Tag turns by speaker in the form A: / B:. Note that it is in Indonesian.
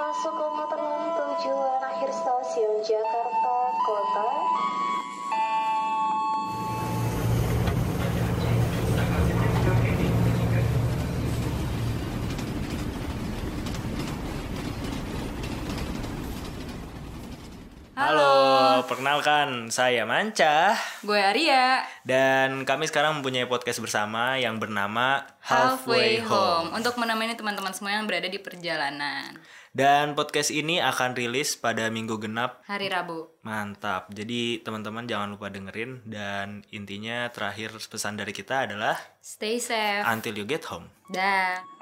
A: 1,87 akhir stasiun Jakarta Kota.
B: Halo,
C: Halo, perkenalkan saya Manca
B: gue Aria
C: dan kami sekarang mempunyai podcast bersama yang bernama
B: Halfway Home Untuk menemani teman-teman semua yang berada di perjalanan
C: Dan podcast ini akan rilis pada minggu genap.
B: Hari Rabu
C: Mantap. Jadi teman-teman jangan lupa dengerin dan intinya terakhir pesan dari kita adalah
B: Stay safe
C: until you get home.
B: Dah